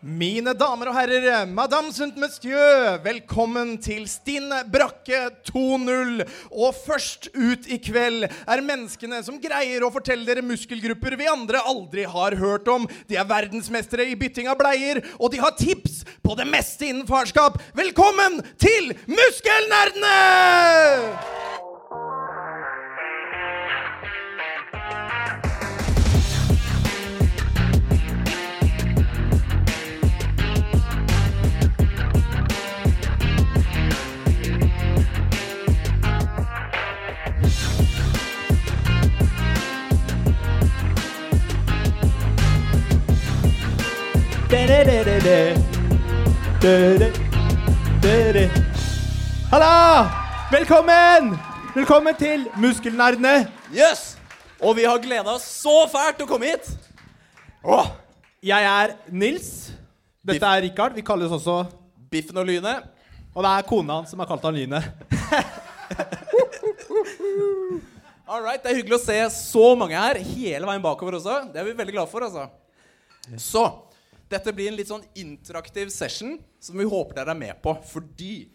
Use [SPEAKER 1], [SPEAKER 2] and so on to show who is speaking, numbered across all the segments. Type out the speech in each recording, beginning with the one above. [SPEAKER 1] Mine damer og herrer, madame sunt monsieur, velkommen til Stinn brakke 2.0. Og først ut i kveld er menneskene som greier å fortelle dere muskelgrupper vi andre aldri har hørt om. De er verdensmestere i bytting av bleier, og de har tips på det meste innen farskap. Velkommen til Muskelnerdene!
[SPEAKER 2] Halla! Velkommen! Velkommen til Muskelnerdene.
[SPEAKER 3] Yes! Og vi har gleda oss så fælt til å komme hit. Åh,
[SPEAKER 2] Jeg er Nils. Dette er Rikard. Vi kalles også Og
[SPEAKER 3] Biffen og Lynet.
[SPEAKER 2] det er kona hans som har kalt han Lynet.
[SPEAKER 3] All right, Det er hyggelig å se så mange her hele veien bakover også. Det er vi veldig glad for. altså. Så dette blir en litt sånn interaktiv session som vi håper dere er med på, fordi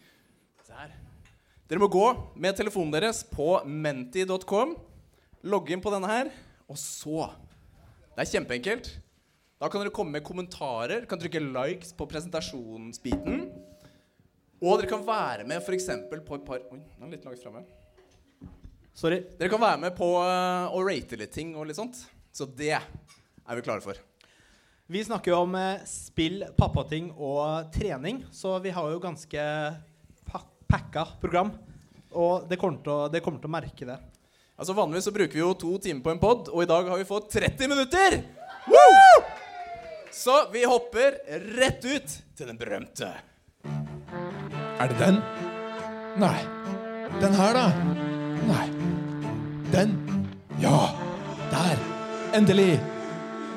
[SPEAKER 3] Se her. Dere må gå med telefonen deres på menti.com, logge inn på denne her, og så Det er kjempeenkelt. Da kan dere komme med kommentarer, kan trykke likes på presentasjonsbiten. Og dere kan være med f.eks. på et par Oi, den er litt langt fremme.
[SPEAKER 2] Sorry.
[SPEAKER 3] Dere kan være med på eh, å rate litt ting og litt sånt. Så det er vi klare for.
[SPEAKER 2] Vi snakker jo om eh, spill, pappating og trening, så vi har jo ganske pa packa program. Og det kommer, til å, det kommer til å merke det.
[SPEAKER 3] Altså Vanligvis så bruker vi jo to timer på en pod, og i dag har vi fått 30 minutter! Så vi hopper rett ut til den berømte.
[SPEAKER 4] Er det den? Nei. Den her, da? Nei. Den? Ja. Der. Endelig.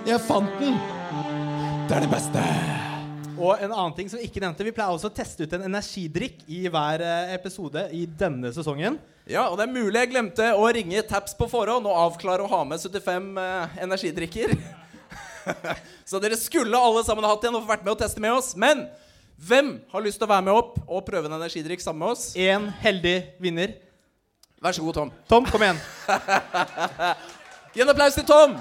[SPEAKER 4] Jeg fant den. Det er det beste.
[SPEAKER 2] Og en annen ting som vi ikke nevnte Vi pleier også å teste ut en energidrikk i hver eh, episode i denne sesongen.
[SPEAKER 3] Ja, og det er mulig jeg glemte å ringe Taps på forhånd og avklare å ha med 75 eh, energidrikker. Så dere skulle alle sammen hatt en og vært med og teste med oss. Men hvem har lyst til å være med opp og prøve en energidrikk sammen med oss?
[SPEAKER 2] Én heldig vinner.
[SPEAKER 3] Vær så god, Tom.
[SPEAKER 2] Tom, kom igjen.
[SPEAKER 3] Gi en applaus til Tom!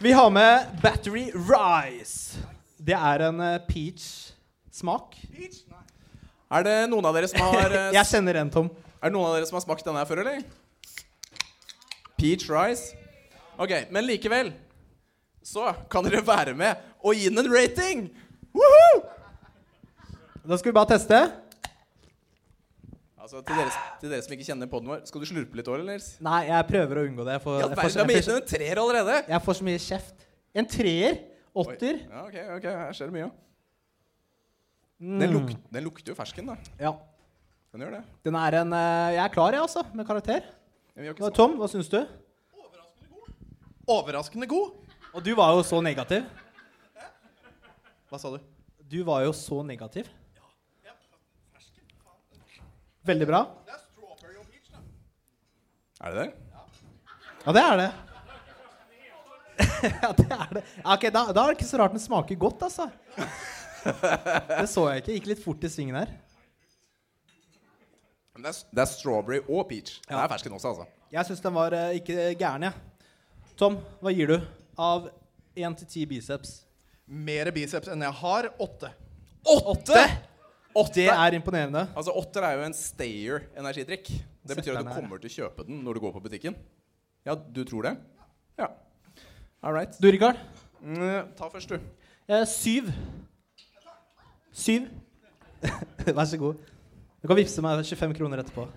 [SPEAKER 2] Vi har med Battery Rise. Det er en eh, peach-smak.
[SPEAKER 3] Er det noen av dere som har eh,
[SPEAKER 2] Jeg kjenner en, Tom.
[SPEAKER 3] Er det noen av dere som har smakt denne her før, eller? Peach rice. Ok, men likevel så kan dere være med og gi den en rating. Woohoo!
[SPEAKER 2] Da skal vi bare teste.
[SPEAKER 3] Altså, til dere, til dere som ikke kjenner podden vår, skal du slurpe litt over, eller? Nils?
[SPEAKER 2] Nei, jeg prøver å unngå det. Jeg får,
[SPEAKER 3] Ja,
[SPEAKER 2] jeg
[SPEAKER 3] verden,
[SPEAKER 2] får,
[SPEAKER 3] de har
[SPEAKER 2] jeg
[SPEAKER 3] gitt den
[SPEAKER 2] får,
[SPEAKER 3] en treer allerede.
[SPEAKER 2] jeg får så mye kjeft. En treer.
[SPEAKER 3] Oi.
[SPEAKER 2] Åtter.
[SPEAKER 3] Ja, ok, ok, her skjer det mye.
[SPEAKER 2] Mm.
[SPEAKER 3] Den, luk, den lukter jo fersken, da.
[SPEAKER 2] Ja.
[SPEAKER 3] Den gjør det.
[SPEAKER 2] Den er en eh, Jeg er klar, jeg, altså, med karakter.
[SPEAKER 3] Men vi har ikke
[SPEAKER 2] Nå,
[SPEAKER 3] smakt.
[SPEAKER 2] Tom, hva syns du?
[SPEAKER 1] Overraskende god.
[SPEAKER 2] Og du var jo så negativ.
[SPEAKER 1] Hva sa du?
[SPEAKER 2] Du var jo så negativ. Veldig bra.
[SPEAKER 3] Er det det?
[SPEAKER 2] Ja, det er det. ja, det er det. Ja, Ok, da, da er det ikke så rart den smaker godt, altså. Det så jeg ikke. Gikk litt fort i svingen her.
[SPEAKER 3] Men Det er, det er strawberry og peach. Det
[SPEAKER 2] Ja.
[SPEAKER 3] er fersken også, altså.
[SPEAKER 2] Jeg syns den var eh, ikke gæren, jeg. Tom, hva gir du av 1 til 10 biceps?
[SPEAKER 1] Mer biceps enn jeg har. Åtte.
[SPEAKER 3] Åtte!
[SPEAKER 2] Det er imponerende.
[SPEAKER 3] Altså, Åtter er jo en stayer energidrikk. Det betyr at
[SPEAKER 2] den
[SPEAKER 3] du
[SPEAKER 2] her.
[SPEAKER 3] kommer til å kjøpe den når du går på butikken. Ja, du tror det? Ja. All right.
[SPEAKER 2] Du, Rikard?
[SPEAKER 3] Mm, ta først, du.
[SPEAKER 2] Eh, syv. Syv. Vær så god. Du kan vippse meg 25 kroner etterpå.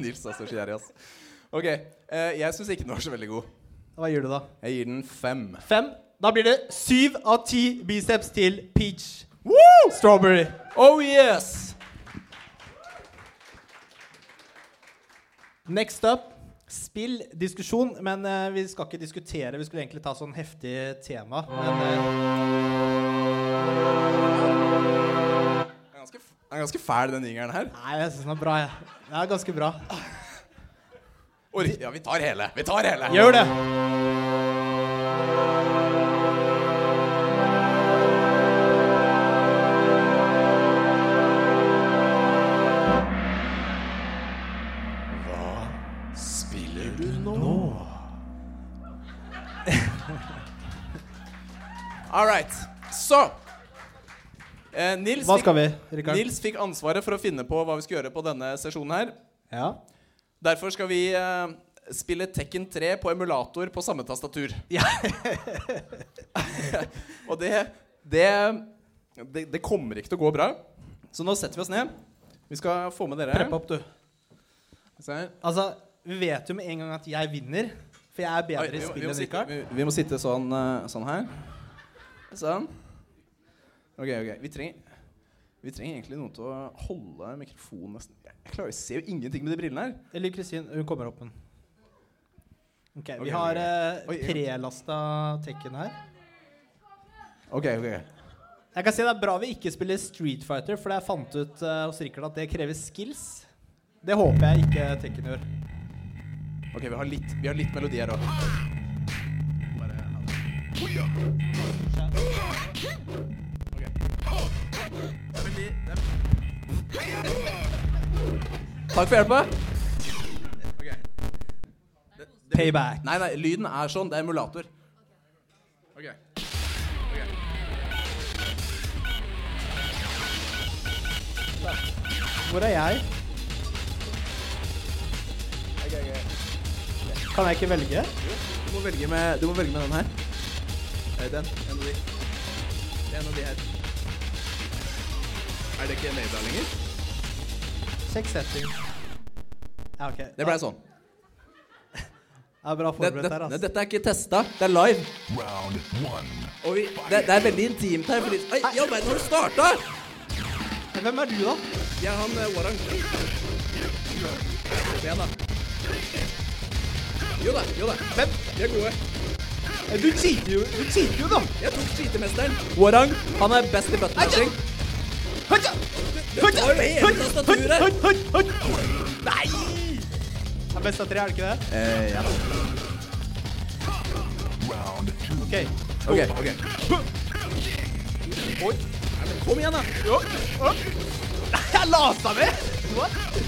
[SPEAKER 3] Nils er så skjærig, ass. Ok, eh, jeg syns ikke den var så veldig god.
[SPEAKER 2] Hva gir du da?
[SPEAKER 3] Jeg gir den fem.
[SPEAKER 2] Fem. Da blir det syv av ti biceps til peach.
[SPEAKER 3] Woo!
[SPEAKER 2] Strawberry.
[SPEAKER 3] Oh yes!
[SPEAKER 2] Next up spill diskusjon. Men eh, vi skal ikke diskutere. Vi skulle egentlig ta sånn heftig tema. Men eh,
[SPEAKER 3] Den er ganske, f- den er ganske fæl, den jingeren her.
[SPEAKER 2] nei, jeg syns den er bra. Jeg. Den er ganske bra.
[SPEAKER 3] Ork, ja, vi tar hele. Vi tar hele.
[SPEAKER 2] Gjør det.
[SPEAKER 4] Spiller du nå?
[SPEAKER 3] All right. Så eh, Nils,
[SPEAKER 2] Hva skal
[SPEAKER 3] fikk,
[SPEAKER 2] vi, Rikard?
[SPEAKER 3] Nils fikk ansvaret for å finne på hva vi skulle gjøre på denne sesjonen her.
[SPEAKER 2] Ja.
[SPEAKER 3] Derfor skal vi eh, spille Tekken 3 på emulator på samme tastatur.
[SPEAKER 2] Ja.
[SPEAKER 3] Og det, det, det Det kommer ikke til å gå bra. Så nå setter vi oss ned. Vi skal få med dere
[SPEAKER 2] Prepp opp, du.
[SPEAKER 3] Se her.
[SPEAKER 2] Altså, vi vet jo med en gang at jeg vinner. For jeg er
[SPEAKER 3] Oi,
[SPEAKER 2] bedre
[SPEAKER 3] vi,
[SPEAKER 2] i
[SPEAKER 3] må-
[SPEAKER 2] spill
[SPEAKER 3] vi, må
[SPEAKER 2] enn
[SPEAKER 3] sitte,
[SPEAKER 2] Rikard.
[SPEAKER 3] vi, vi må sitte sånn, eh, sånn her. Sånn. OK, OK. Vi trenger, vi trenger egentlig noen til å holde mikrofonen nesten Jeg jeg klarer, jeg ser jo ingenting med de brillene her.
[SPEAKER 2] Eller Kristin. Hun kommer opp med den. Ok,
[SPEAKER 3] Ok,
[SPEAKER 2] vi har
[SPEAKER 3] ok.
[SPEAKER 2] eh,
[SPEAKER 3] Oi, jeg-
[SPEAKER 2] prelasta tekken her.
[SPEAKER 3] OK, OK.
[SPEAKER 2] Jeg kan si Det er bra vi ikke spiller Street Fighter, for jeg fant ut eh, hos Rikard at det krever skills. Det håper jeg ikke Tekken gjør.
[SPEAKER 3] Ok, Vi har litt, vi har litt melodi her òg. Takk for hjelpa.
[SPEAKER 2] Payback.
[SPEAKER 3] Nei, nei, lyden er sånn. Det er emulator. Ok.
[SPEAKER 2] Hvor er jeg? Kan jeg ikke velge?
[SPEAKER 3] Du må velge med, du må velge med den her. Eh, Den. En av de. Det er en av de her. Er det ikke Nada lenger?
[SPEAKER 2] Sjekk setting. Ja, ok.
[SPEAKER 3] Det ble sånn.
[SPEAKER 2] Jeg er bra
[SPEAKER 3] Det,
[SPEAKER 2] forberedt
[SPEAKER 3] det,
[SPEAKER 2] her,
[SPEAKER 3] nei,
[SPEAKER 2] ass.
[SPEAKER 3] dette er ikke testa. Det er live.
[SPEAKER 4] Round one.
[SPEAKER 3] Og vi, det, det er veldig intimt her. Fordi, oi, i all verden, har du starta?
[SPEAKER 2] Hvem er du, da?
[SPEAKER 3] Jeg er han eh, Warang. Kom igjen, da. Jo da, jo da. Vent, vi er gode.
[SPEAKER 2] Eh, Du cheater jo, du cheater jo da!
[SPEAKER 3] Jeg tok skytemesteren. Warang, han er best i buttonmatching.
[SPEAKER 2] Hatja! Hatja!
[SPEAKER 3] tar jo hele
[SPEAKER 2] Hatja!
[SPEAKER 3] tastaturet.
[SPEAKER 2] Hatja! Hatja! Hatja! Nei! Det er best av tre, er det ikke det?
[SPEAKER 3] Eh, ja.
[SPEAKER 4] Round two.
[SPEAKER 2] Ok. Eh,
[SPEAKER 3] Ok, ok. Oi. Nei, men Kom igjen, da.
[SPEAKER 2] Nei, jeg lasa meg! What?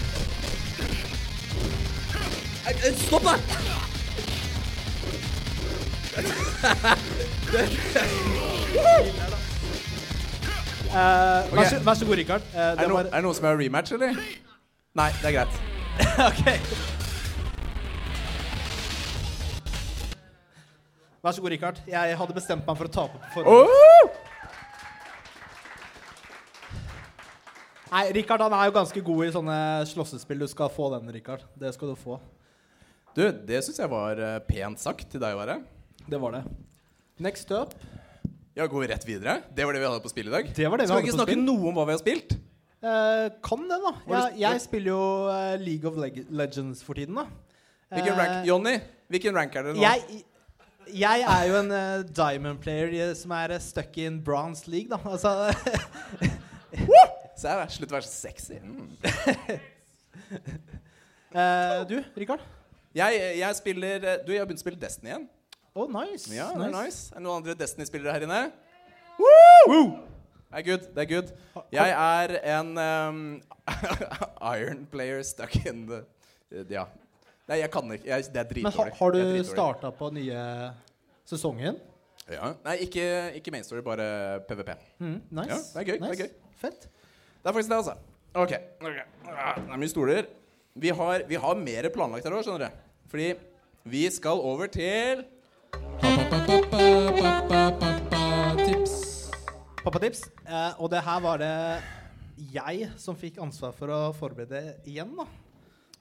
[SPEAKER 3] Nei, eh, Stopp, da!
[SPEAKER 2] Eh,
[SPEAKER 3] Ok.
[SPEAKER 2] vær, så, vær så god, Rikard. Eh,
[SPEAKER 3] Er det,
[SPEAKER 2] det
[SPEAKER 3] noe,
[SPEAKER 2] var
[SPEAKER 3] er det noen som er rematch, eller? Nei, det er greit.
[SPEAKER 2] Ok. Vær så god, Rikard. Jeg hadde bestemt meg for å tape på forhånd. Nei, Rikard han er jo ganske god i sånne slåssespill. Du skal få den, Rikard. Det skal du få.
[SPEAKER 3] Du, det syns jeg var eh, pent sagt til deg å være.
[SPEAKER 2] Det var det. Next up.
[SPEAKER 3] Ja, Går vi rett videre? Det var det vi hadde på spill i dag.
[SPEAKER 2] Det var det vi
[SPEAKER 3] Skal
[SPEAKER 2] hadde
[SPEAKER 3] vi ikke
[SPEAKER 2] på
[SPEAKER 3] snakke
[SPEAKER 2] spill.
[SPEAKER 3] noe om hva vi har spilt?
[SPEAKER 2] Eh, kan det, da.
[SPEAKER 3] Var det-
[SPEAKER 2] Jeg, jeg spiller jo eh, League of Leg Legends for tiden, da.
[SPEAKER 3] Hvilken rank,
[SPEAKER 2] Eh,
[SPEAKER 3] Jonny, hvilken rank er dere nå?
[SPEAKER 2] jeg, jeg er jo en eh, diamond player eh, som er eh, stuck in bronze league, da. Altså,
[SPEAKER 3] Se her, da. slutt å være så sexy. Mm.
[SPEAKER 2] eh, du, Rikard?
[SPEAKER 3] Jeg, jeg spiller eh, Du, jeg har begynt å spille Destiny igjen.
[SPEAKER 2] Å, nice.
[SPEAKER 3] Ja, det Er nice. Er det noen andre Destiny-spillere her inne?
[SPEAKER 2] Woo!
[SPEAKER 3] Det er good. det er good. Jeg er en ehm, iron player stuck in the Ja. Nei, jeg kan ikke. Jeg, det er
[SPEAKER 2] Men
[SPEAKER 3] dritdårlig.
[SPEAKER 2] har, har
[SPEAKER 3] Jeg er
[SPEAKER 2] du
[SPEAKER 3] dritdårlig.
[SPEAKER 2] starta på nye sesongen?
[SPEAKER 3] Ja. Nei, ikke, ikke main story, bare PVP.
[SPEAKER 2] Mm, nice.
[SPEAKER 3] Ja, det er gøy, det er
[SPEAKER 2] nice.
[SPEAKER 3] gøy.
[SPEAKER 2] Fett.
[SPEAKER 3] Det er faktisk det, altså. OK. ok. Ah, Det er mye stoler. Vi har, vi har mer planlagt her òg, skjønner du. Fordi vi skal over til
[SPEAKER 4] Tips.
[SPEAKER 2] Pappatips. Eh, og det her var det jeg som fikk ansvar for å forberede igjen, da.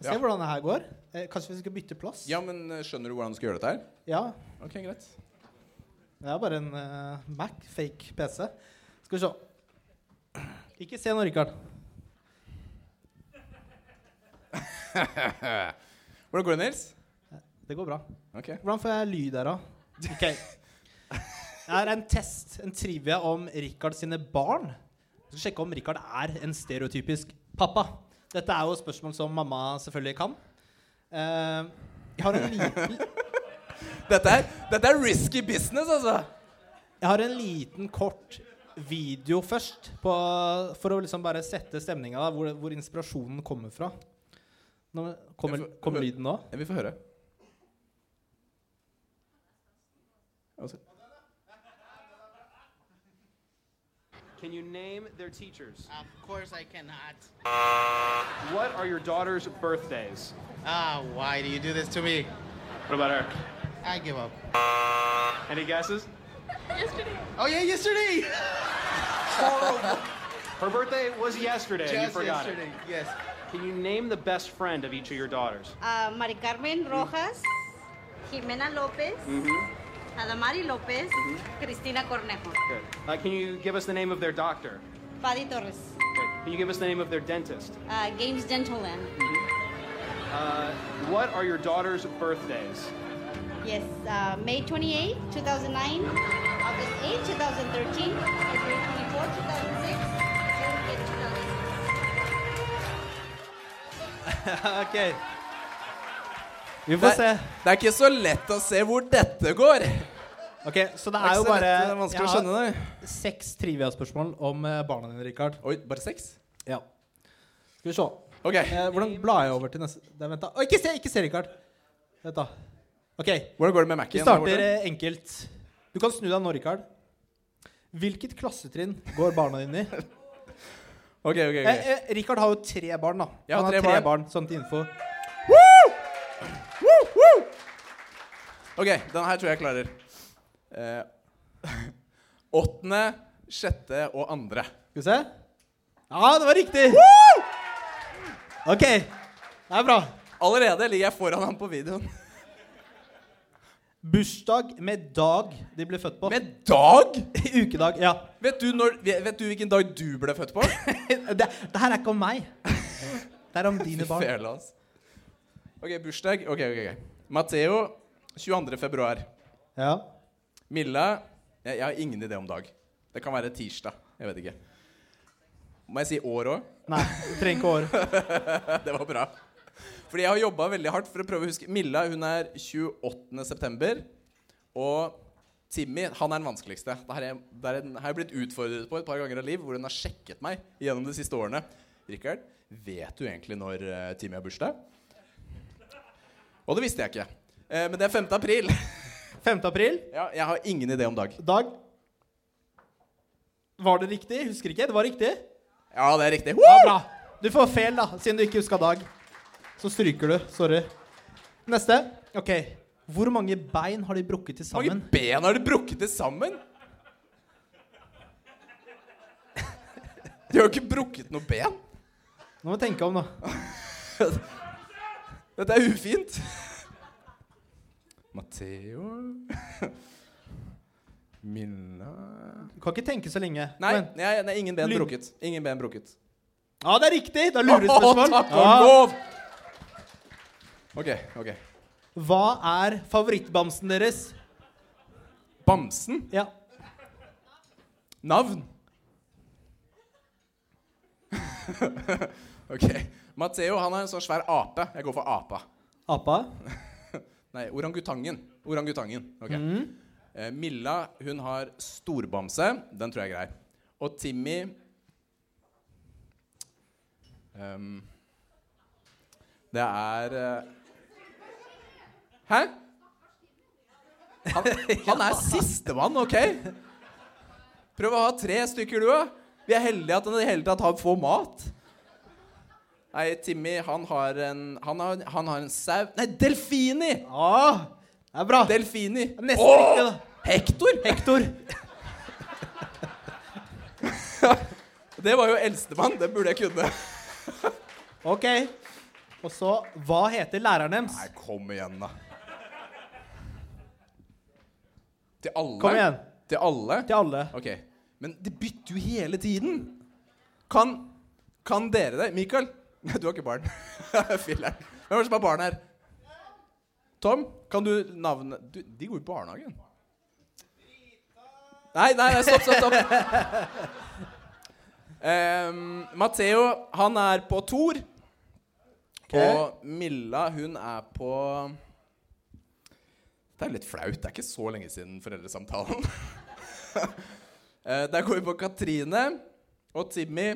[SPEAKER 2] Se
[SPEAKER 3] Ja.
[SPEAKER 2] hvordan det her går. Eh, kanskje vi skal bytte plass?
[SPEAKER 3] Ja, men eh, skjønner du hvordan du skal gjøre dette her?
[SPEAKER 2] Ja,
[SPEAKER 3] OK, greit.
[SPEAKER 2] Det er bare en eh, Mac, fake PC. Skal vi se. Ikke se nå, Rikard.
[SPEAKER 3] Hvordan går det, Nils?
[SPEAKER 2] Det går bra.
[SPEAKER 3] OK.
[SPEAKER 2] Hvordan får jeg lyd her, da? Ok. Det er en test, en trivia om Rikard sine barn. Vi skal sjekke om Rikard er en stereotypisk pappa. Dette er jo et spørsmål som mamma selvfølgelig kan. Eh, jeg har en liten
[SPEAKER 3] Dette er, dette er risky business, altså.
[SPEAKER 2] Jeg har en liten, kort video først, på, for å liksom bare sette stemninga, da, hvor, hvor inspirasjonen kommer fra. Nå kommer, kommer lyden nå?
[SPEAKER 3] Ja, vi får høre. Altså,
[SPEAKER 5] Can you name their teachers?
[SPEAKER 6] Of course I cannot.
[SPEAKER 5] What are your daughter's birthdays?
[SPEAKER 6] Ah, why do you do this to me?
[SPEAKER 5] What about her?
[SPEAKER 6] I give up.
[SPEAKER 5] Any guesses?
[SPEAKER 6] Oh yeah, yesterday.
[SPEAKER 5] Her birthday was yesterday. and you
[SPEAKER 6] Just
[SPEAKER 5] forgot
[SPEAKER 6] yesterday. Yes.
[SPEAKER 5] it. Can you name the best friend of each of your daughters?
[SPEAKER 7] a Mari Carmen Rojas, Jimena López, Adamari López, Cristina Cornejo,
[SPEAKER 5] Good. Uh, can you give us the name of their doctor?
[SPEAKER 7] Paddy Torres,
[SPEAKER 5] Good. Can you give us the name of their dentist?
[SPEAKER 7] uh, Games Gentleman.
[SPEAKER 5] Uh, what are your daughter's birthdays?
[SPEAKER 7] Yes, uh, May 28, 2009, August 8, 2013, February 24, 2006, June 8, 2006.
[SPEAKER 2] OK. Vi
[SPEAKER 3] det,
[SPEAKER 2] får se.
[SPEAKER 3] er, det er ikke så lett å se hvor dette går.
[SPEAKER 2] Ok, Så det
[SPEAKER 3] Det er
[SPEAKER 2] er jo
[SPEAKER 3] ikke så
[SPEAKER 2] bare
[SPEAKER 3] lett, det er vanskelig å skjønne det.
[SPEAKER 2] det. Seks trivia-spørsmål om eh, barna dine, Rikard.
[SPEAKER 3] Oi, bare seks?
[SPEAKER 2] Ja. Skal vi se.
[SPEAKER 3] Ok.
[SPEAKER 2] Eh, hvordan blar jeg over til neste Der, Vent, da. Å, ikke se, ikke se, Rikard. Vent, da. OK.
[SPEAKER 3] Hvordan går det med Mac-en?
[SPEAKER 2] Vi
[SPEAKER 3] der borte?
[SPEAKER 2] starter eh, enkelt. Du kan snu deg nå, Rikard. Hvilket klassetrinn går barna dine i?
[SPEAKER 3] Ok, ok, ok.
[SPEAKER 2] Eh, eh, Rikard har jo tre barn, da.
[SPEAKER 3] Ja,
[SPEAKER 2] Han har
[SPEAKER 3] tre
[SPEAKER 2] tre,
[SPEAKER 3] barn.
[SPEAKER 2] barn. sånn til info.
[SPEAKER 3] Ok, den her tror jeg jeg klarer. Eh, åttende, sjette og andre.
[SPEAKER 2] Skal vi se. Ja, det var riktig! OK. Det er bra.
[SPEAKER 3] Allerede ligger jeg foran han på videoen.
[SPEAKER 2] Bursdag med dag de ble født på.
[SPEAKER 3] Med dag?
[SPEAKER 2] Ukedag, ja.
[SPEAKER 3] Vet du, når, vet du hvilken dag du ble født på?
[SPEAKER 2] Det, det her er ikke om meg. Det er om dine
[SPEAKER 3] Fy
[SPEAKER 2] barn.
[SPEAKER 3] fæle, ass. altså. Ok, bursdag. Ok, ok, ok. Matteo, 22. februar.
[SPEAKER 2] Ja.
[SPEAKER 3] Milla, jeg, jeg har ingen idé om dag. Det kan være tirsdag. Jeg vet ikke. Må jeg si år òg?
[SPEAKER 2] Nei, du trenger ikke år.
[SPEAKER 3] Det var bra. Fordi jeg har jobba veldig hardt for å prøve å huske Milla hun er 28. september. Og Timmy han er den vanskeligste. Det her er, det er en, har jeg blitt utfordret på et par ganger av Liv, hvor hun har sjekket meg gjennom de siste årene. Rikard, vet du egentlig når eh, Timmy har bursdag? Og det visste jeg ikke. Eh, men det er 5. april.
[SPEAKER 2] 5. april.
[SPEAKER 3] Ja, jeg har ingen idé om dag.
[SPEAKER 2] Dag. Var det riktig? Husker ikke. Det var riktig.
[SPEAKER 3] Ja, det er riktig.
[SPEAKER 2] Ja,
[SPEAKER 3] Woo!
[SPEAKER 2] bra. Du får feil, da, siden du ikke huska dag. Så stryker du. Sorry. Neste. OK. Hvor mange bein har de brukket til
[SPEAKER 3] Hvor mange
[SPEAKER 2] sammen?
[SPEAKER 3] ben har du brukket til sammen? De har jo ikke brukket noe ben.
[SPEAKER 2] Nå må vi tenke om, da.
[SPEAKER 3] Dette er ufint. Matteo Minna
[SPEAKER 2] Du kan ikke tenke så lenge.
[SPEAKER 3] Nei,
[SPEAKER 2] Men-
[SPEAKER 3] nei, nei ingen ben
[SPEAKER 2] Lyd.
[SPEAKER 3] brukket. Ingen ben brukket.
[SPEAKER 2] Ja, det er riktig! Det er lurespørsmål.
[SPEAKER 3] Å, takk og
[SPEAKER 2] Ja.
[SPEAKER 3] lov! OK, OK.
[SPEAKER 2] Hva er favorittbamsen deres?
[SPEAKER 3] Bamsen?
[SPEAKER 2] Ja.
[SPEAKER 3] Navn? OK. Matteo han er en sånn svær ape. Jeg går for apa.
[SPEAKER 2] Apa?
[SPEAKER 3] Nei, orangutangen. Orangutangen. Ok.
[SPEAKER 2] Mm.
[SPEAKER 3] Eh, Milla, hun har storbamse. Den tror jeg er grei. Og Timmy ehm, Det er eh, Hæ? Han, han er sistemann, OK? Prøv å ha tre stykker, du òg. Vi er heldige at han i det hele tatt har få mat. Nei, Timmy, han har en Han har, han har en sau Nei, delfini!
[SPEAKER 2] Ja, det er bra.
[SPEAKER 3] Delfini.
[SPEAKER 2] Nesten
[SPEAKER 3] Åh!
[SPEAKER 2] riktig, da.
[SPEAKER 3] Hector!
[SPEAKER 2] Hektor.
[SPEAKER 3] Det var jo eldstemann. Det burde jeg kunne.
[SPEAKER 2] OK. Og så, hva heter læreren deres?
[SPEAKER 3] Nei, kom igjen, da. Til alle?
[SPEAKER 2] Kom igjen.
[SPEAKER 3] Til alle?
[SPEAKER 2] Til alle.
[SPEAKER 3] Ok. Men det bytter jo hele tiden. Kan, kan dere det? Mikael? Nei, du har ikke barn. Filler'n. Hvem er det som har barn her? Tom, kan du navnet du, De går i barnehagen. Nei, nei, nei, stopp, stopp. stopp. Ehm, Matteo, han er på Thor. Og Milla, hun er på Det er jo litt flaut. Det er ikke så lenge siden foreldresamtalen. Eh, Der går vi på Katrine og Timmy.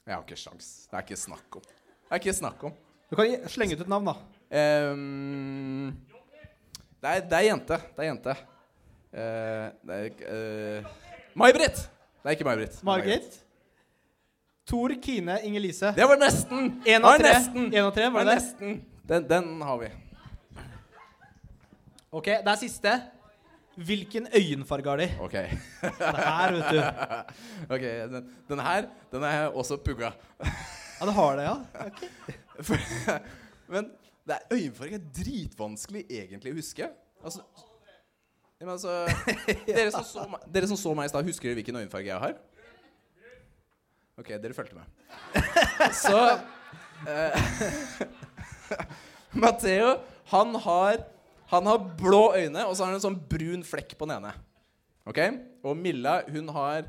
[SPEAKER 3] Jeg har ikke sjans. Det er ikke snakk om. Det er ikke snakk om.
[SPEAKER 2] Du kan gi- slenge ut et navn, da.
[SPEAKER 3] Ehm, det, er, det er jente. Det er jente. Eh, det er eh, May-Britt! Det er ikke May-Britt. det er
[SPEAKER 2] Margit. Tor Kine Inger-Lise.
[SPEAKER 3] Det var nesten.
[SPEAKER 2] En av
[SPEAKER 3] Det var
[SPEAKER 2] tre.
[SPEAKER 3] Nesten.
[SPEAKER 2] En av tre, var det det?
[SPEAKER 3] nesten. Den, den har vi.
[SPEAKER 2] OK, det er siste. Hvilken øyenfarge har de?
[SPEAKER 3] Ok.
[SPEAKER 2] Det her, vet du.
[SPEAKER 3] ok, den, den her den er også pugga.
[SPEAKER 2] Ja, det har det, ja. Ok.
[SPEAKER 3] For- Men det er øyenfarge er dritvanskelig egentlig å huske. Altså, ja, men altså dere, som så meg, dere som så meg i stad, husker dere hvilken øyenfarge jeg har? OK, dere fulgte med. Så eh, Matteo, han har, han har blå øyne, og så har han en sånn brun flekk på den ene. Ok? Og Milla, hun har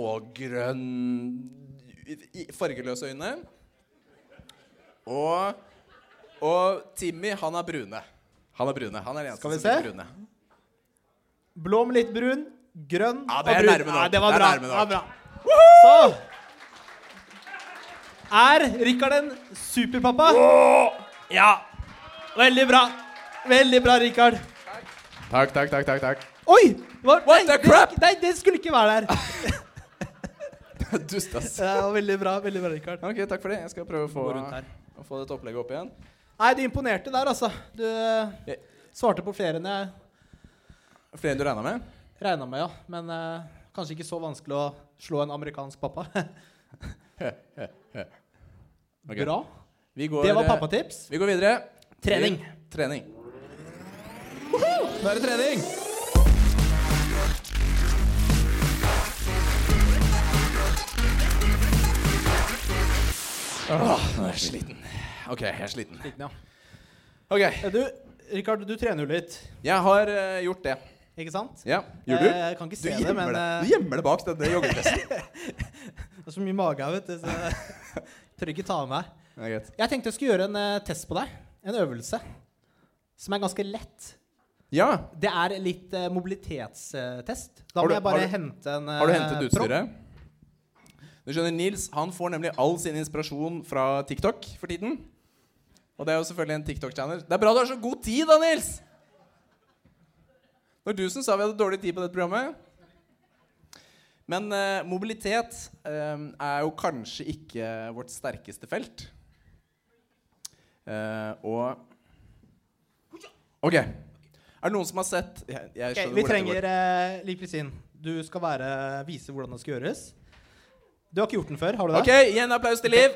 [SPEAKER 3] grågrønn i- i- fargeløse øyne. Og, og Timmy, han er brune. Han er brune. Han er den eneste
[SPEAKER 2] Skal vi
[SPEAKER 3] som er
[SPEAKER 2] se?
[SPEAKER 3] brune.
[SPEAKER 2] Blå med litt brun, grønn
[SPEAKER 3] Ja,
[SPEAKER 2] og
[SPEAKER 3] det er
[SPEAKER 2] brun.
[SPEAKER 3] nærme nok.
[SPEAKER 2] Ja, det var
[SPEAKER 3] Det er
[SPEAKER 2] bra.
[SPEAKER 3] nærme
[SPEAKER 2] Det var
[SPEAKER 3] nok.
[SPEAKER 2] bra. Så Er Rikard en superpappa? Ja. Veldig bra. Veldig bra, Rikard.
[SPEAKER 3] Takk, takk, takk. takk, takk.
[SPEAKER 2] Oi! det Var,
[SPEAKER 3] What the crap?
[SPEAKER 2] Det, nei, det skulle ikke være der.
[SPEAKER 3] Dust, ass.
[SPEAKER 2] Det var veldig bra, veldig bra, Rikard.
[SPEAKER 3] Ok, takk for det. Jeg skal prøve å få,
[SPEAKER 2] Gå rundt her.
[SPEAKER 3] å få dette opplegget opp igjen.
[SPEAKER 2] Nei, du imponerte der, altså. Du eh, svarte på flere enn jeg
[SPEAKER 3] Flere enn du regna med?
[SPEAKER 2] regna med, ja. Men eh, kanskje ikke så vanskelig å slå en amerikansk pappa.
[SPEAKER 3] Ok.
[SPEAKER 2] Bra.
[SPEAKER 3] Vi går,
[SPEAKER 2] Det var
[SPEAKER 3] eh,
[SPEAKER 2] pappatips.
[SPEAKER 3] Vi går videre.
[SPEAKER 2] Trening.
[SPEAKER 3] Til Trening. Nå er det trening. Åh, nå er jeg sliten. OK, jeg er sliten.
[SPEAKER 2] Liten, ja.
[SPEAKER 3] Ok,
[SPEAKER 2] Eh, Du, Rikard, du trener jo litt,
[SPEAKER 3] Jeg har eh, gjort det.
[SPEAKER 2] ikke sant?
[SPEAKER 3] Ja, Gjør du?
[SPEAKER 2] Eh, Jeg kan ikke
[SPEAKER 3] Du
[SPEAKER 2] se det,
[SPEAKER 3] gjemmer
[SPEAKER 2] men
[SPEAKER 3] det.
[SPEAKER 2] eh,
[SPEAKER 3] Du gjemmer det bak denne joggedressen.
[SPEAKER 2] det er så mye mage her, vet du, så jeg tør ikke ta med meg.
[SPEAKER 3] Det er greit.
[SPEAKER 2] Jeg tenkte jeg skulle gjøre en eh, test på deg. En øvelse som er ganske lett.
[SPEAKER 3] Ja.
[SPEAKER 2] Det er litt eh, mobilitetstest. Da
[SPEAKER 3] Har
[SPEAKER 2] må
[SPEAKER 3] du-
[SPEAKER 2] jeg bare
[SPEAKER 3] har du-
[SPEAKER 2] hente en
[SPEAKER 3] Har du
[SPEAKER 2] eh,
[SPEAKER 3] hentet
[SPEAKER 2] propp.
[SPEAKER 3] utstyret? Du skjønner, Nils han får nemlig all sin inspirasjon fra TikTok for tiden. Og det er jo selvfølgelig en TikTok-channel. Det er bra du har så god tid, da, Nils! Det var du som sa vi hadde dårlig tid på dette programmet. Men eh, mobilitet eh, er jo kanskje ikke vårt sterkeste felt. Eh, og OK. Er det noen som har sett Jeg, jeg
[SPEAKER 2] Ok,
[SPEAKER 3] skjønner
[SPEAKER 2] vi
[SPEAKER 3] hvor dette går.
[SPEAKER 2] trenger uh, Liv Kristin, du skal være, vise hvordan det skal gjøres. Du har ikke gjort den før, har du det?
[SPEAKER 3] OK, gi en applaus til Liv.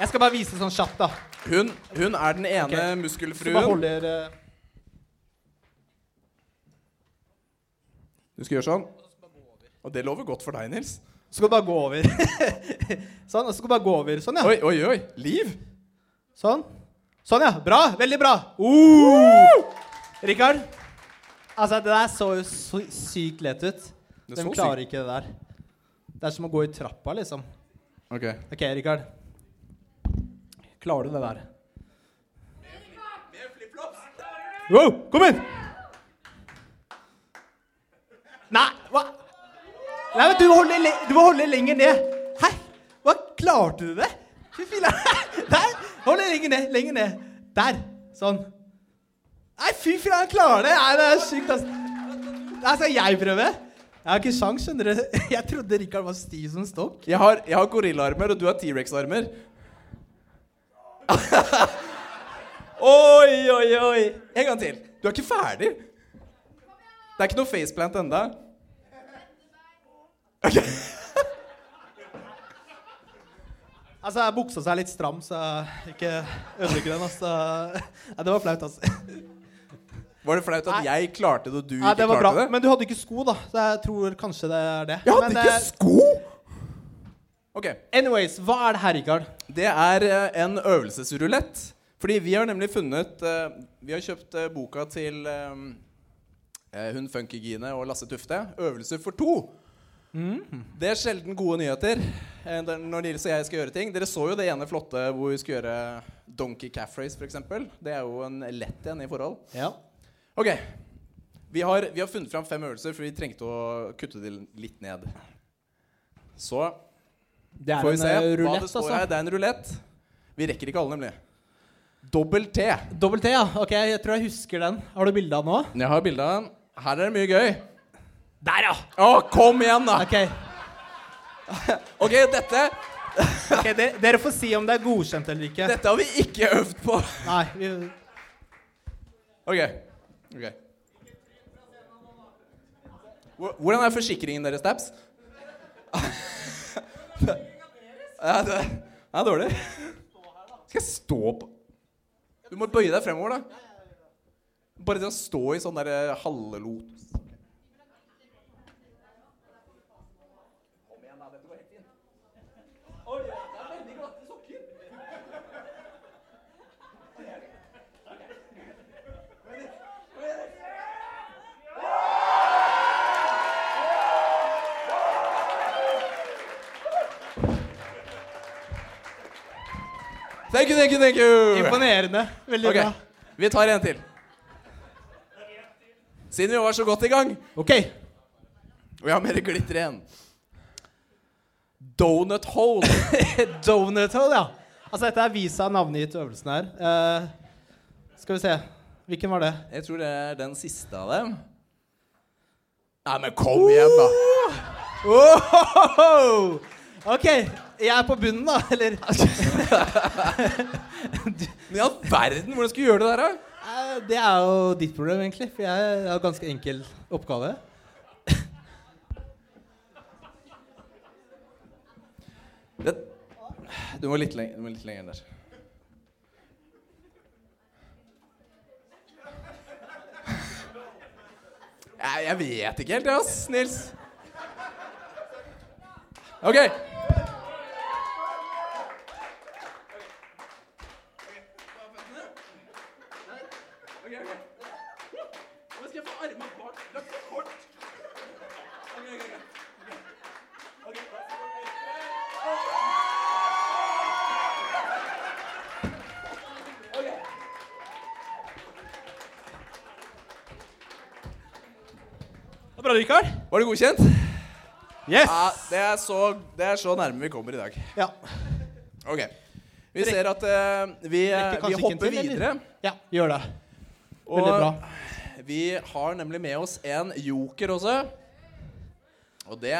[SPEAKER 2] Jeg skal bare vise sånn kjapt, da.
[SPEAKER 3] Hun, hun er den ene
[SPEAKER 2] Ok. Så bare
[SPEAKER 3] muskelfruen.
[SPEAKER 2] holder eh,
[SPEAKER 3] Du skal gjøre sånn. Og det lover godt for deg, Nils.
[SPEAKER 2] Så skal du bare gå over. sånn, og så skal du bare gå over. Sånn, ja.
[SPEAKER 3] Oi, oi, oi. Liv.
[SPEAKER 2] Sånn. Sånn, ja. Bra. Veldig bra. Uh! Rikard, altså det der så jo så sykt lett ut.
[SPEAKER 3] Det
[SPEAKER 2] De
[SPEAKER 3] så
[SPEAKER 2] klarer ikke det der. Det er som å gå i trappa, liksom.
[SPEAKER 3] Ok.
[SPEAKER 2] OK, Rikard. Klarer du det der? Wow, kom inn! Nei, hva Nei, men du må holde, le- du må holde lenger ned. Hæ? Hva klarte du det? Fy filla. Der. Hold det lenger ned. Lenger ned. Der. Sånn. Nei, fy filla, han klarer det. Nei, det er sykt, altså. Nei, skal jeg prøve? Jeg har ikke sjans, skjønner du. Jeg trodde Rikard var stiv som stokk.
[SPEAKER 3] Jeg har, jeg har gorillaarmer, og du har T-rex-armer. oi, oi, oi. En gang til. Du er ikke ferdig. Det er ikke noe faceplant enda.
[SPEAKER 2] Altså, buksa seg er litt stram, så jeg ikke ødelegger den. Altså. Nei, det var flaut, altså.
[SPEAKER 3] Var det flaut at jeg klarte det, og du
[SPEAKER 2] Nei,
[SPEAKER 3] ikke
[SPEAKER 2] det var
[SPEAKER 3] klarte
[SPEAKER 2] bra.
[SPEAKER 3] det?
[SPEAKER 2] Men du hadde ikke sko, da. Så jeg tror kanskje det er det.
[SPEAKER 3] jeg hadde
[SPEAKER 2] Men,
[SPEAKER 3] ikke
[SPEAKER 2] eh,
[SPEAKER 3] sko! Ok.
[SPEAKER 2] Anyways, hva er det her, Rikard?
[SPEAKER 3] Det er eh, en øvelsesrulett. Fordi vi har nemlig funnet eh, Vi har kjøpt eh, boka til eh, eh, hun Funky Gine og Lasse Tufte. 'Øvelser for to'.
[SPEAKER 2] Mm.
[SPEAKER 3] Det er sjelden gode nyheter eh, der- når Nils og jeg skal gjøre ting. Dere så jo det ene flotte hvor vi skulle gjøre Donkey calf race, f.eks. Det er jo en lett en i forhold.
[SPEAKER 2] Ja.
[SPEAKER 3] Ok. Vi har, vi har funnet fram fem øvelser, for vi trengte å kutte det litt ned. Så
[SPEAKER 2] Det er
[SPEAKER 3] får vi
[SPEAKER 2] en
[SPEAKER 3] se
[SPEAKER 2] eh,
[SPEAKER 3] hva
[SPEAKER 2] rulett,
[SPEAKER 3] det står
[SPEAKER 2] altså.
[SPEAKER 3] her. Det er en rulett. Vi rekker ikke alle, nemlig. Dobbel T.
[SPEAKER 2] Dobbel T, ja. Ok, jeg tror jeg husker den. Har du bilde av den nå?
[SPEAKER 3] Jeg har bilde av den. Her er det mye gøy.
[SPEAKER 2] Der, ja!
[SPEAKER 3] Å, kom igjen, da!
[SPEAKER 2] Ok,
[SPEAKER 3] Ok, dette,
[SPEAKER 2] Ok, dere, dere får si om det er godkjent eller ikke.
[SPEAKER 3] dette har vi ikke øvd på.
[SPEAKER 2] Nei, vi,
[SPEAKER 3] Ok. ok. Hvor- Hvordan er forsikringen deres, Dabs? Ja, det det er dårlig. Skal jeg stå på Du må bøye deg fremover, da. Bare det å stå i sånn der eh, halvlo... Thank you, thank you, thank you!
[SPEAKER 2] imponerende. Veldig
[SPEAKER 3] Ok,
[SPEAKER 2] bra.
[SPEAKER 3] vi tar en til. Siden vi var så godt i gang,
[SPEAKER 2] Ok.
[SPEAKER 3] og jeg har mer glitter igjen Donut hole.
[SPEAKER 2] Donut hole, ja. Altså, dette er visa navngitt øvelsen her. Eh, skal vi se. Hvilken var det?
[SPEAKER 3] Jeg tror det er den siste av dem. Nei, men kom igjen, da!
[SPEAKER 2] Ohohoho! Ok, jeg er på bunnen, da, eller?
[SPEAKER 3] Men i all verden, hvordan skal vi gjøre det der, da?
[SPEAKER 2] Eh, Det er jo ditt problem, egentlig. For jeg har ganske enkel oppgave.
[SPEAKER 3] Det... Du må litt lenger, du må litt lenger enn der. Jeg, jeg vet ikke helt, jeg, ass, Nils. OK. Skal jeg få armene bak? Det er for kort.
[SPEAKER 2] Bra, Rikard.
[SPEAKER 3] Var det godkjent?
[SPEAKER 2] Yes.
[SPEAKER 3] Ja, det er, så, det er så nærme vi kommer i dag.
[SPEAKER 2] Ja.
[SPEAKER 3] Ok. Vi ser at eh, vi,
[SPEAKER 2] Rekker kanskje ikke
[SPEAKER 3] vi
[SPEAKER 2] en
[SPEAKER 3] hopper
[SPEAKER 2] til, eller?
[SPEAKER 3] videre.
[SPEAKER 2] ja, gjør det. Veldig bra.
[SPEAKER 3] Og vi har nemlig med oss en joker også. Og det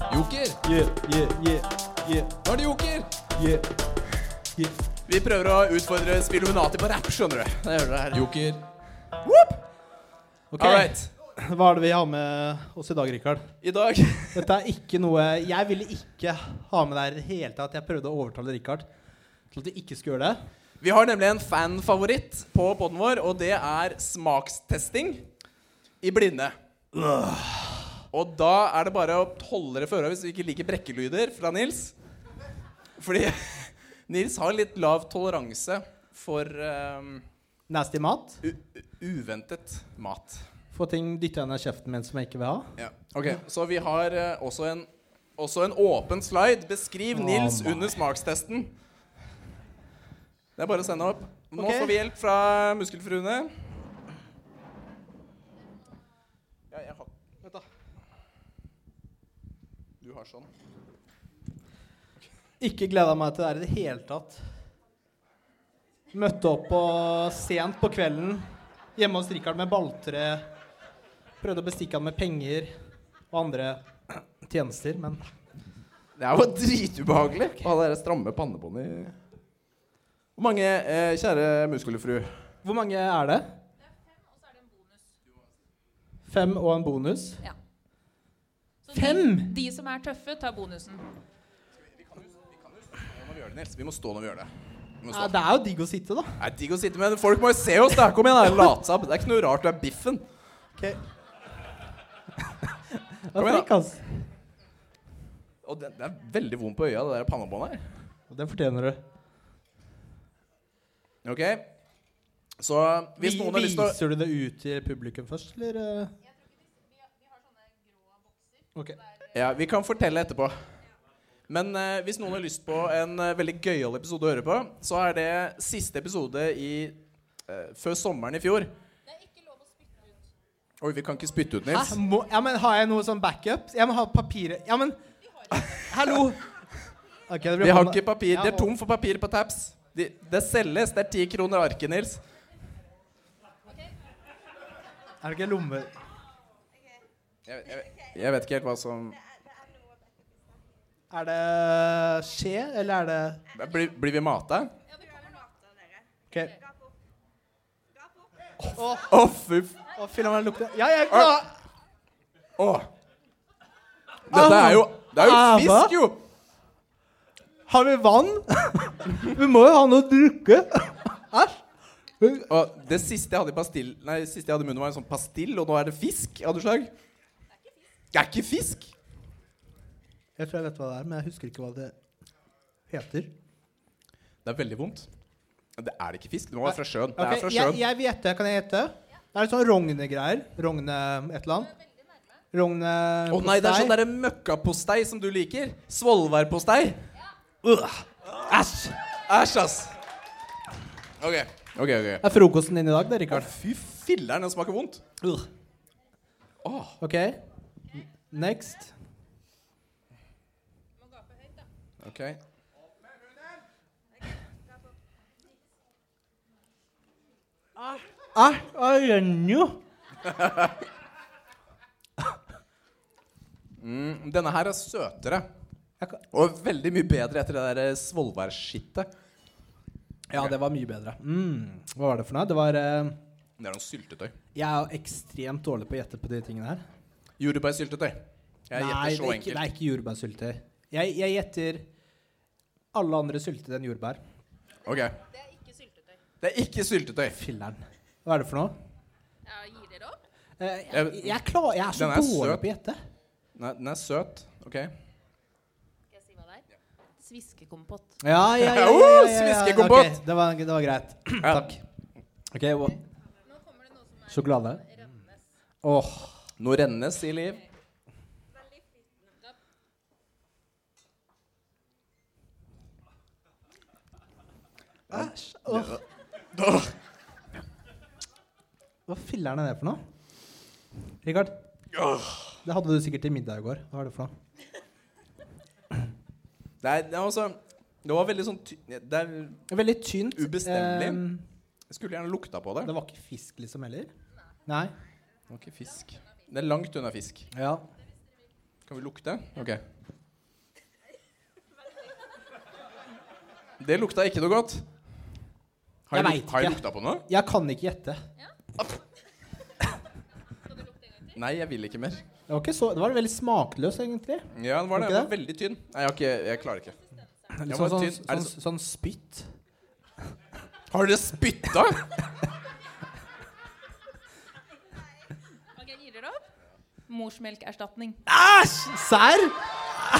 [SPEAKER 3] Joker!
[SPEAKER 2] Yeah, yeah, yeah, yeah,
[SPEAKER 3] Nå er det joker!
[SPEAKER 2] yeah. yeah.
[SPEAKER 3] Vi prøver å utfordre Spilluminati på rapp, skjønner du. Det gjør du her.
[SPEAKER 4] Joker.
[SPEAKER 2] Ok,
[SPEAKER 3] All right.
[SPEAKER 2] Hva er det vi har med oss i dag, Rikard?
[SPEAKER 3] I dag
[SPEAKER 2] Dette er ikke noe Jeg ville ikke ha med deg i det hele tatt. Jeg prøvde å overtale Rikard til at du ikke skulle gjøre det.
[SPEAKER 3] Vi har nemlig en fanfavoritt på podden vår, og det er smakstesting i blinde. Og da er det bare å holde dere for øra hvis du ikke liker brekkelyder fra Nils. Fordi Nils har litt lav toleranse for ehm,
[SPEAKER 2] Nasty mat.
[SPEAKER 3] u uventet mat.
[SPEAKER 2] Få ting dytta inn i kjeften min som jeg ikke vil ha.
[SPEAKER 3] Ja. Ok, Så vi har eh, også, en, også en åpen slide. Beskriv Nils under smakstesten. Det er bare å sende opp. Nå
[SPEAKER 2] Ok.
[SPEAKER 3] får vi hjelp fra muskelfruene. Ja, jeg har Vent, da. Du har sånn.
[SPEAKER 2] Ikke gleda meg til det her i det hele tatt. Møtte opp på, sent på kvelden hjemme hos Rikard med balltre. Prøvde å bestikke han med penger og andre tjenester, men
[SPEAKER 3] Det er jo dritubehagelig å ha det der stramme pannebåndet i Hvor mange, eh, kjære muskelfru
[SPEAKER 2] Hvor mange er det? Fem og en bonus.
[SPEAKER 8] Ja. Så
[SPEAKER 2] Fem?
[SPEAKER 8] De, de som er tøffe, tar bonusen.
[SPEAKER 3] Nå må vi gjøre det, Nils. Vi må stå når vi gjør det. Vi må
[SPEAKER 2] Ja,
[SPEAKER 3] stå.
[SPEAKER 2] det er jo digg å sitte, da.
[SPEAKER 3] Det er digg å sitte med. Folk må jo se oss, da. Kom igjen, da. Latsabb. Det er ikke noe rart du er biffen.
[SPEAKER 2] Det
[SPEAKER 3] Kom
[SPEAKER 2] er
[SPEAKER 3] igjen,
[SPEAKER 2] flink, ass.
[SPEAKER 3] Og det, det er veldig vondt på øya, det der pannebåndet her.
[SPEAKER 2] Og Den fortjener du.
[SPEAKER 3] Ok? Så hvis
[SPEAKER 2] Vi-
[SPEAKER 3] noen har lyst til å
[SPEAKER 2] Viser du det ut til publikum først, eller? eh?
[SPEAKER 8] Jeg tror ikke vi, har sånne grå bokser.
[SPEAKER 2] Ok.
[SPEAKER 3] Ja, vi kan fortelle etterpå. Men eh, hvis noen har lyst på en eh, veldig gøyal episode å høre på, så er det siste episode i eh, før sommeren i fjor.
[SPEAKER 8] Det er ikke lov å spytte ut.
[SPEAKER 3] Oi, vi kan ikke spytte ut, Nils.
[SPEAKER 2] Hæ? Må, ja, men har jeg noe sånn backup? Jeg må ha papiret Ja, men Hallo! Ok, det blir
[SPEAKER 3] Vi har
[SPEAKER 2] hånda-
[SPEAKER 3] ikke papir.
[SPEAKER 2] Ja,
[SPEAKER 3] De er tom for papir på Taps. De, det selges. Det er ti kroner arket, Nils.
[SPEAKER 2] Er det ikke lommer?
[SPEAKER 3] Jeg, jeg, jeg vet ikke helt hva som
[SPEAKER 2] Er det skje, eller er det
[SPEAKER 3] Blir, blir vi mata?
[SPEAKER 2] Ok.
[SPEAKER 3] Å, fy f...
[SPEAKER 2] Å, fy la meg lukte Ja, jeg er klar!
[SPEAKER 3] Å. Dette er jo Det er jo
[SPEAKER 2] Ah, hva?
[SPEAKER 3] fisk, jo!
[SPEAKER 2] Har vi vann? vi må jo ha noe å drikke. Æsj.
[SPEAKER 3] Og det siste jeg hadde i pastill Nei, det siste jeg hadde i munnen, var en sånn pastill, og nå er det fisk av noe slag. Det er ikke fisk.
[SPEAKER 2] Jeg tror jeg vet hva det er, men jeg husker ikke hva det heter.
[SPEAKER 3] Det er veldig vondt. Det er ikke fisk. Det må være fra sjøen. Det
[SPEAKER 2] Ok,
[SPEAKER 3] er fra
[SPEAKER 2] jeg,
[SPEAKER 3] sjøen.
[SPEAKER 2] jeg vil gjette. Kan jeg gjette? Er det sånn rognegreier? Rogne et eller annet? Rogne
[SPEAKER 3] Å nei, det er sånn derre møkkapostei som du liker. Svolværpostei. Øh. Æsj. Æsj, ass. OK. ok, ok.
[SPEAKER 2] Det er frokosten din i dag, det,
[SPEAKER 3] Å,
[SPEAKER 2] Rikard.
[SPEAKER 3] Fy filler'n, den smaker vondt. Åh.
[SPEAKER 2] OK. Next.
[SPEAKER 3] OK.
[SPEAKER 2] Ah, arenio.
[SPEAKER 3] Mm, Denne her er søtere.
[SPEAKER 2] Jeg kan-
[SPEAKER 3] Og veldig mye bedre etter det der eh, svolværskittet.
[SPEAKER 2] Ja, det var mye bedre. Mm. Hva var det for noe? Det var eh,
[SPEAKER 3] Det er noe syltetøy.
[SPEAKER 2] Jeg er jo ekstremt dårlig på å gjette på de tingene her.
[SPEAKER 3] Jordbærsyltetøy. Jeg
[SPEAKER 2] Nei,
[SPEAKER 3] gjetter
[SPEAKER 2] det
[SPEAKER 3] så
[SPEAKER 2] er ikke, det
[SPEAKER 3] enkelt.
[SPEAKER 2] er ikke jordbærsyltetøy. Jeg, jeg gjetter alle andre syltetøy enn jordbær.
[SPEAKER 3] Ok.
[SPEAKER 8] Det er ikke syltetøy.
[SPEAKER 3] Det er ikke syltetøy.
[SPEAKER 2] Filler'n. Hva er det for noe?
[SPEAKER 8] Ja, gir dere opp?
[SPEAKER 2] Eh, Jeg, jeg, er klar, jeg er så
[SPEAKER 3] Den er
[SPEAKER 2] dårlig
[SPEAKER 3] søt.
[SPEAKER 2] på å gjette.
[SPEAKER 3] Nei, den er søt. OK.
[SPEAKER 8] Skal jeg si hva det er? Sviskekompott.
[SPEAKER 2] Ja, ja, ja. ja, ja,
[SPEAKER 3] Oh,
[SPEAKER 2] ja, ja.
[SPEAKER 3] sviskekompott.
[SPEAKER 2] Ok, det, var, det var greit. Takk. Ok, hva-
[SPEAKER 8] Nå kommer det noe som er
[SPEAKER 2] Sjokolade?
[SPEAKER 8] rømmes.
[SPEAKER 2] Åh.
[SPEAKER 3] Nå rennes i liv.
[SPEAKER 2] Æsj. Åh. Hva filler'n er det for noe? Rikard? Det hadde du sikkert til middag i går. Hva er det for noe?
[SPEAKER 3] Det er, det er altså Det var veldig sånn ty Det er
[SPEAKER 2] Veldig tynt.
[SPEAKER 3] Ubestemmelig.
[SPEAKER 2] Eh,
[SPEAKER 3] Jeg skulle gjerne lukta på det.
[SPEAKER 2] det var ikke fisk, liksom, heller? Nei.
[SPEAKER 3] Det var ikke fisk. Det er langt unna fisk.
[SPEAKER 2] Ja.
[SPEAKER 3] Kan vi lukte? OK. Det lukta ikke noe godt. Har
[SPEAKER 2] Jeg
[SPEAKER 3] jeg,
[SPEAKER 2] vet
[SPEAKER 3] luk har jeg
[SPEAKER 2] ikke.
[SPEAKER 3] lukta på noe?
[SPEAKER 2] Jeg kan ikke gjette.
[SPEAKER 3] Nei, jeg vil ikke mer.
[SPEAKER 2] Det var, ikke så, det var veldig smakløst, egentlig.
[SPEAKER 3] Ja, det var det.
[SPEAKER 2] Ikke
[SPEAKER 3] Jeg var
[SPEAKER 2] det?
[SPEAKER 3] veldig tynn. Nei, jeg, har ikke, jeg klarer ikke.
[SPEAKER 2] Litt
[SPEAKER 3] Jeg
[SPEAKER 2] sånn,
[SPEAKER 3] var
[SPEAKER 2] sånn,
[SPEAKER 3] tynn. Er
[SPEAKER 2] sånn,
[SPEAKER 3] det
[SPEAKER 2] sånn, spytt.
[SPEAKER 3] Har dere spytta?
[SPEAKER 8] Ok, gir dere opp? Morsmelkerstatning.
[SPEAKER 2] Æsj! Serr?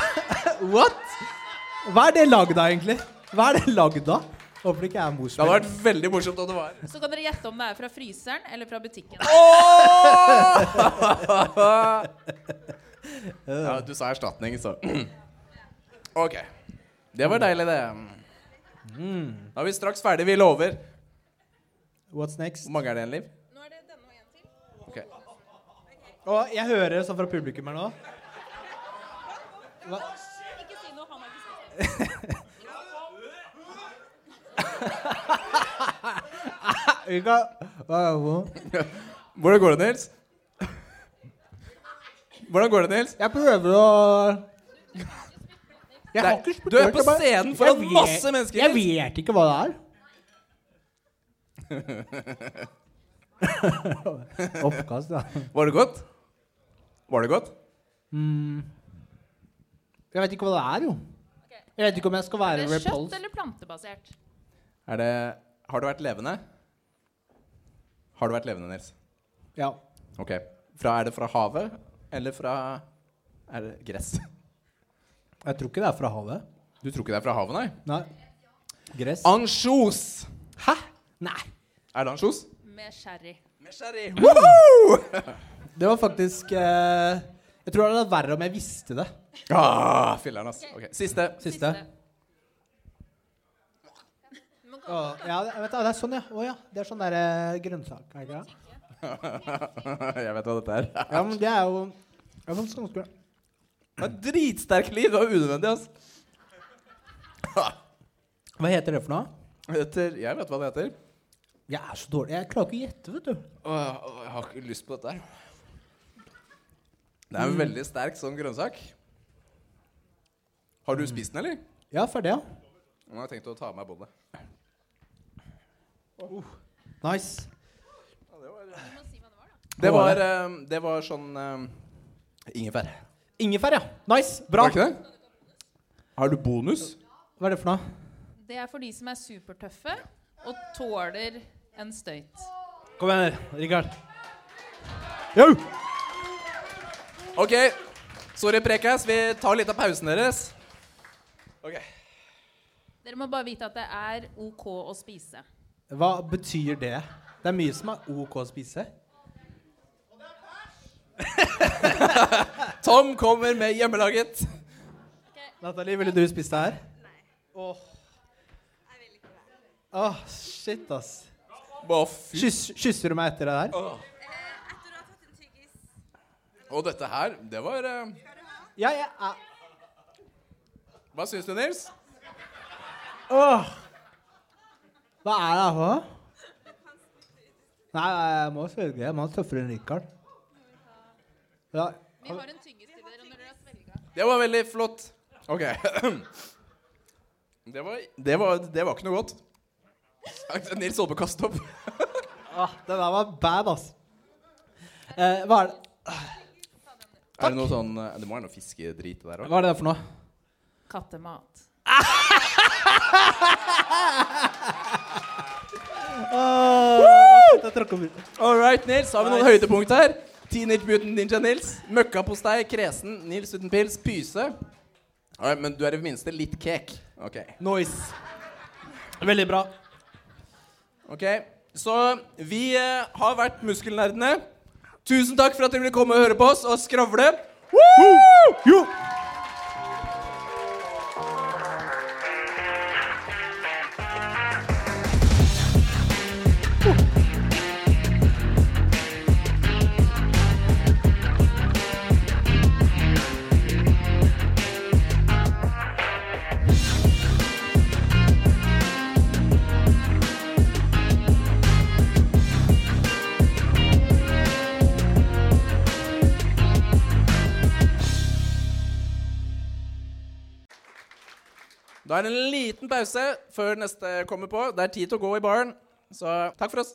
[SPEAKER 2] What? Hva er det lagd av, egentlig? Hva er det lagd av? Håper det ikke er
[SPEAKER 3] Det hadde
[SPEAKER 2] morsmelk.
[SPEAKER 3] vært veldig morsomt om det var.
[SPEAKER 8] Så kan dere gjette om det er fra fryseren eller fra butikken.
[SPEAKER 3] Ja, du sa erstatning, så OK. Det var deilig, det.
[SPEAKER 2] Mm.
[SPEAKER 3] Da er vi straks ferdig. Vi lover.
[SPEAKER 2] What's next?
[SPEAKER 3] Hvor mange er det igjen, Liv?
[SPEAKER 8] Nå er det denne og en til.
[SPEAKER 3] Ok.
[SPEAKER 2] Og jeg hører sånn fra publikum her nå
[SPEAKER 8] Ikke si noe, han har ikke spist.
[SPEAKER 2] Vi kan- Hva er det for noe?
[SPEAKER 3] Hvordan går det, Nils? Hvordan går det, Nils?
[SPEAKER 2] Jeg prøver å Jeg har
[SPEAKER 3] Nei,
[SPEAKER 2] ikke spurt
[SPEAKER 3] du er
[SPEAKER 2] jeg
[SPEAKER 3] på
[SPEAKER 2] bare-
[SPEAKER 3] scenen
[SPEAKER 2] Jeg
[SPEAKER 3] foran
[SPEAKER 2] vet-
[SPEAKER 3] masse mennesker.
[SPEAKER 2] Jeg vet ikke hva det er. Oppkast, da.
[SPEAKER 3] Var det godt? Var det godt?
[SPEAKER 2] Jeg vet ikke hva det er, jo. Jeg vet ikke om jeg skal
[SPEAKER 8] Er
[SPEAKER 2] være
[SPEAKER 8] det kjøtt
[SPEAKER 2] repulsed.
[SPEAKER 8] eller plantebasert?
[SPEAKER 3] Er det Har du vært levende? Har du vært levende, Nils?
[SPEAKER 2] Ja.
[SPEAKER 3] OK. Fra, er det fra havet, eller fra Er det gress?
[SPEAKER 2] Jeg tror ikke det er fra havet.
[SPEAKER 3] Du tror ikke det er fra havet, nei?
[SPEAKER 2] Nei. Gress?
[SPEAKER 3] Ansjos!
[SPEAKER 2] Hæ? Nei.
[SPEAKER 3] Er det ansjos?
[SPEAKER 8] Med sherry.
[SPEAKER 3] Med sherry. Woohoo!
[SPEAKER 2] Det var faktisk eh, Jeg Jeg tror det hadde vært verre om jeg visste det.
[SPEAKER 3] Ah, filler'n, ass. Ok, Siste.
[SPEAKER 2] Siste.
[SPEAKER 8] Du må gå-
[SPEAKER 2] Å, ja, det, vet du, det er sånn, ja. Å ja. Det er sånn derre grønnsak, er det ikke det?
[SPEAKER 3] jeg vet hva dette er.
[SPEAKER 2] Ja, men det er jo sånn det er faktisk ganske
[SPEAKER 3] Det var Dritsterk liv. Det var unødvendig, ass.
[SPEAKER 2] Hva heter det for noe?
[SPEAKER 3] Heter, jeg vet hva det heter.
[SPEAKER 2] Jeg er så dårlig. Jeg klarer ikke å gjette, vet du.
[SPEAKER 3] Åh, åh, jeg har ikke lyst på dette her. Det er en veldig sterk sånn grønnsak. Har du spist den, eller?
[SPEAKER 2] Ja, ferdig, ja.
[SPEAKER 3] Nå har jeg tenkt å ta med meg båndet.
[SPEAKER 2] Nice.
[SPEAKER 8] du må si hva det var, da.
[SPEAKER 3] Det
[SPEAKER 2] var
[SPEAKER 3] var, eh, det var sånn eh, Ingefær.
[SPEAKER 2] Ingefær, ja. Nice. Bra.
[SPEAKER 3] Var det ikke det? Har du bonus?
[SPEAKER 2] Hva er det for noe?
[SPEAKER 8] Det er for de som er supertøffe og tåler en støyt.
[SPEAKER 2] Kom igjen, Rikard. Yo!
[SPEAKER 3] OK. Sorry, Prekas. Vi tar litt av pausen deres. OK.
[SPEAKER 8] Dere må bare vite at det er OK å spise.
[SPEAKER 2] Hva betyr det? Det er mye som er OK å spise.
[SPEAKER 3] Tom kommer med hjemmelaget.
[SPEAKER 2] Natalie, ville du spist det her? Nei. Åh. Åh, shit, ass.
[SPEAKER 3] Å, fy.
[SPEAKER 2] Kyss, kysser du meg etter det der?
[SPEAKER 3] Og dette her, det var eh,
[SPEAKER 2] Ja, jeg er
[SPEAKER 3] Hva syns du, Nils?
[SPEAKER 2] Åh. Hva er det her for? noe? Nei, nei, jeg må svelge. Jeg må ha tøffere enn Rikard. Ja.
[SPEAKER 8] Vi har en tyggis til dere når dere har svelga.
[SPEAKER 3] Det var veldig flott. OK. Det var, det var, det var ikke noe godt. Nils holdt på å kaste opp.
[SPEAKER 2] Ah, det der var bad, ass. Eh, hva er det?
[SPEAKER 3] Er det noe sånn eh, Det må være noe fiskedrit der òg.
[SPEAKER 2] Hva er det der for noe?
[SPEAKER 8] Kattemat.
[SPEAKER 2] Åh, jeg tråkker på-
[SPEAKER 3] All right, Nils. Har vi noen høydepunkt her? Teenage Mutant Ninja Nils. Møkkapostei, kresen. Nils uten pils. Pyse. All right, men du er i det minste litt kek. Ok.
[SPEAKER 2] Noise. Veldig bra.
[SPEAKER 3] Ok, Så vi eh, har vært Muskelnerdene. Tusen takk for at dere ville komme og høre på oss og skravle.
[SPEAKER 2] Jo!
[SPEAKER 3] Da er det en liten pause før neste kommer på. Det er tid til å gå i baren. Så takk for oss.